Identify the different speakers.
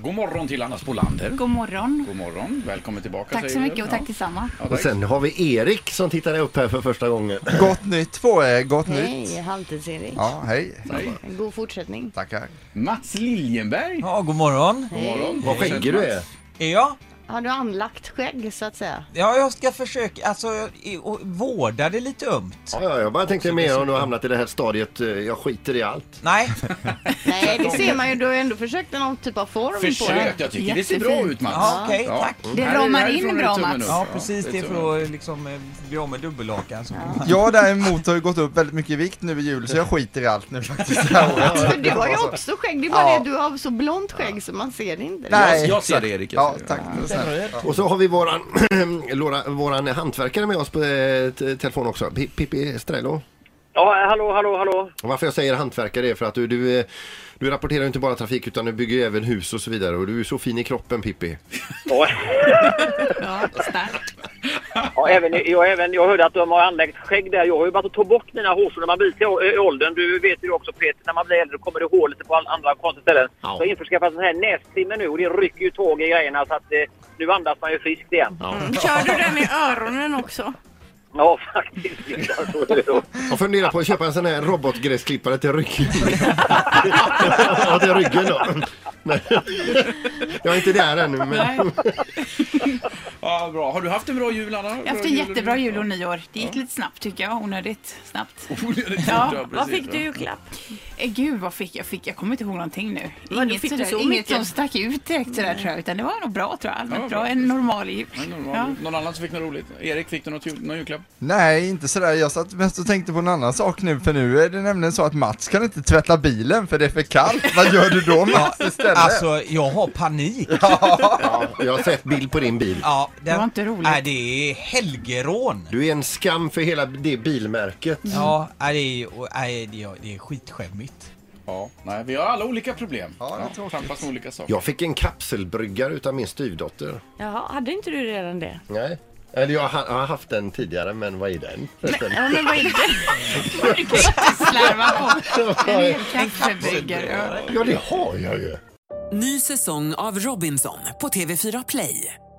Speaker 1: God morgon till Anna Spolander.
Speaker 2: God morgon.
Speaker 1: God morgon. Välkommen tillbaka.
Speaker 2: Tack så
Speaker 1: säger vi.
Speaker 2: mycket och tack detsamma.
Speaker 1: Ja,
Speaker 3: Och
Speaker 1: tack.
Speaker 3: sen har vi Erik som tittade upp här för första gången.
Speaker 4: Gott nytt på er, gott nytt.
Speaker 5: Hej, Halvtids-Erik.
Speaker 4: Ja, hej.
Speaker 1: Nej.
Speaker 5: En god fortsättning.
Speaker 4: Tackar.
Speaker 1: Mats Liljenberg.
Speaker 6: Ja, god morgon.
Speaker 1: God morgon.
Speaker 3: Vad skäggig du är.
Speaker 6: Är jag?
Speaker 5: Har du anlagt skägg så att säga?
Speaker 6: Ja, jag ska försöka, alltså, i- och vårda det lite ömt.
Speaker 3: Ja, ja, jag bara tänkte mer om du har hamnat i det här stadiet, eh, jag skiter i allt.
Speaker 6: Nej,
Speaker 5: Nej, det ser man ju. Du har ju ändå försökt någon typ av form på det.
Speaker 1: Försök. Jag tycker det ser bra
Speaker 2: Jättefint.
Speaker 1: ut Mats.
Speaker 6: ja, okej, tack.
Speaker 2: Det
Speaker 1: Här är-
Speaker 2: ramar
Speaker 1: härifrån
Speaker 2: in
Speaker 1: är
Speaker 2: bra,
Speaker 1: tummen
Speaker 2: Mats.
Speaker 1: upp.
Speaker 6: Ja, precis, det är
Speaker 1: tummen upp.
Speaker 6: för att liksom eh, bli av med dubbellakan. Så.
Speaker 4: Jag däremot har ju gått upp väldigt mycket i vikt nu i jul så jag skiter i allt nu faktiskt. det här året.
Speaker 5: För Alltså, du har ju också skägg. Det är bara
Speaker 4: Ja.
Speaker 5: det att du har så blont skägg så man ser det inte.
Speaker 4: Nej.
Speaker 1: Jag, jag ser det Erik. jag
Speaker 4: Ja,
Speaker 1: ser det.
Speaker 4: tack. Det var snällt.
Speaker 3: Och så har vi våran, Lora- våran hantverkare med oss på eh, t- telefon också, P- Pippi Strello.
Speaker 7: Ja, hallå, hallå, hallå.
Speaker 3: Och Varför jag säger hantverkare är för att du, du, eh, du rapporterar ju inte bara trafik utan du bygger ju även hus och så vidare och du är så fin i kroppen Pippi.
Speaker 7: Ja,
Speaker 2: Ja, starkt.
Speaker 7: ja, även, jag, även, jag hörde att de har anlagt skägg där. Jag har ju varit och tog bort mina hårstrån när man blir till å- ö- åldern. Du vet ju också Peter, när man blir äldre kommer det hår lite på all- andra konstiga ställen.
Speaker 3: Ja.
Speaker 7: Så jag införskaffade sån här nästrimmer nu och det rycker ju tag i grejerna så att eh, nu andas man ju friskt igen. Ja,
Speaker 8: Kör du den i öronen också?
Speaker 7: faktiskt. Ja, så är det då.
Speaker 3: Jag funderar på att köpa en sån här robotgräsklippare till ryggen. ja, till ryggen då. Nej. Jag är inte där ännu men...
Speaker 1: Ja, bra. Har du haft en bra jul Anna?
Speaker 2: Jag har haft en jättebra jul och nyår. Det gick lite snabbt tycker jag. Onödigt snabbt. Ja,
Speaker 1: Ja,
Speaker 8: Vad fick du i julklapp?
Speaker 2: Eh, Gud vad fick jag? Fick, jag kommer inte ihåg någonting nu.
Speaker 8: Vad,
Speaker 2: Inget,
Speaker 8: fick du
Speaker 2: sådär,
Speaker 8: så
Speaker 2: inget
Speaker 8: mycket?
Speaker 2: som stack ut direkt sådär tror jag. Utan det var nog bra tror jag. Allmänt
Speaker 1: Ja,
Speaker 2: bra.
Speaker 1: bra.
Speaker 2: En normal jul. Ja.
Speaker 1: Någon annan som fick något roligt? Erik, fick du något jul, någon julklapp?
Speaker 4: Nej, inte sådär. Jag satt mest och tänkte på en annan sak nu för nu är det nämligen så att Mats kan inte tvätta bilen för det är för kallt. Vad gör du då Mats istället?
Speaker 6: Alltså, jag har panik.
Speaker 3: Ja, jag har sett bild på din bil.
Speaker 6: Ja,
Speaker 2: Det var inte roligt.
Speaker 6: Nej, det är helgerån.
Speaker 3: Du är en skam för hela det bilmärket.
Speaker 6: Ja, nej, det är, och, nej, det är, det är skitskämmigt.
Speaker 1: Ja. Nej, vi har alla olika problem.
Speaker 4: Ja, det är tråkigt.
Speaker 1: Tampas med olika saker.
Speaker 3: Jag fick en kapselbryggare utav min styvdotter.
Speaker 8: Jaha, hade inte du redan det?
Speaker 3: Nej. Eller jag har jag har haft den tidigare men vad är den?
Speaker 8: Ja, men vad är det?
Speaker 2: Du kan ju inte slarva på. En hel kaffebryggare. Ja.
Speaker 3: Ja det har jag ju.
Speaker 9: Ny säsong av Robinson på TV4 Play.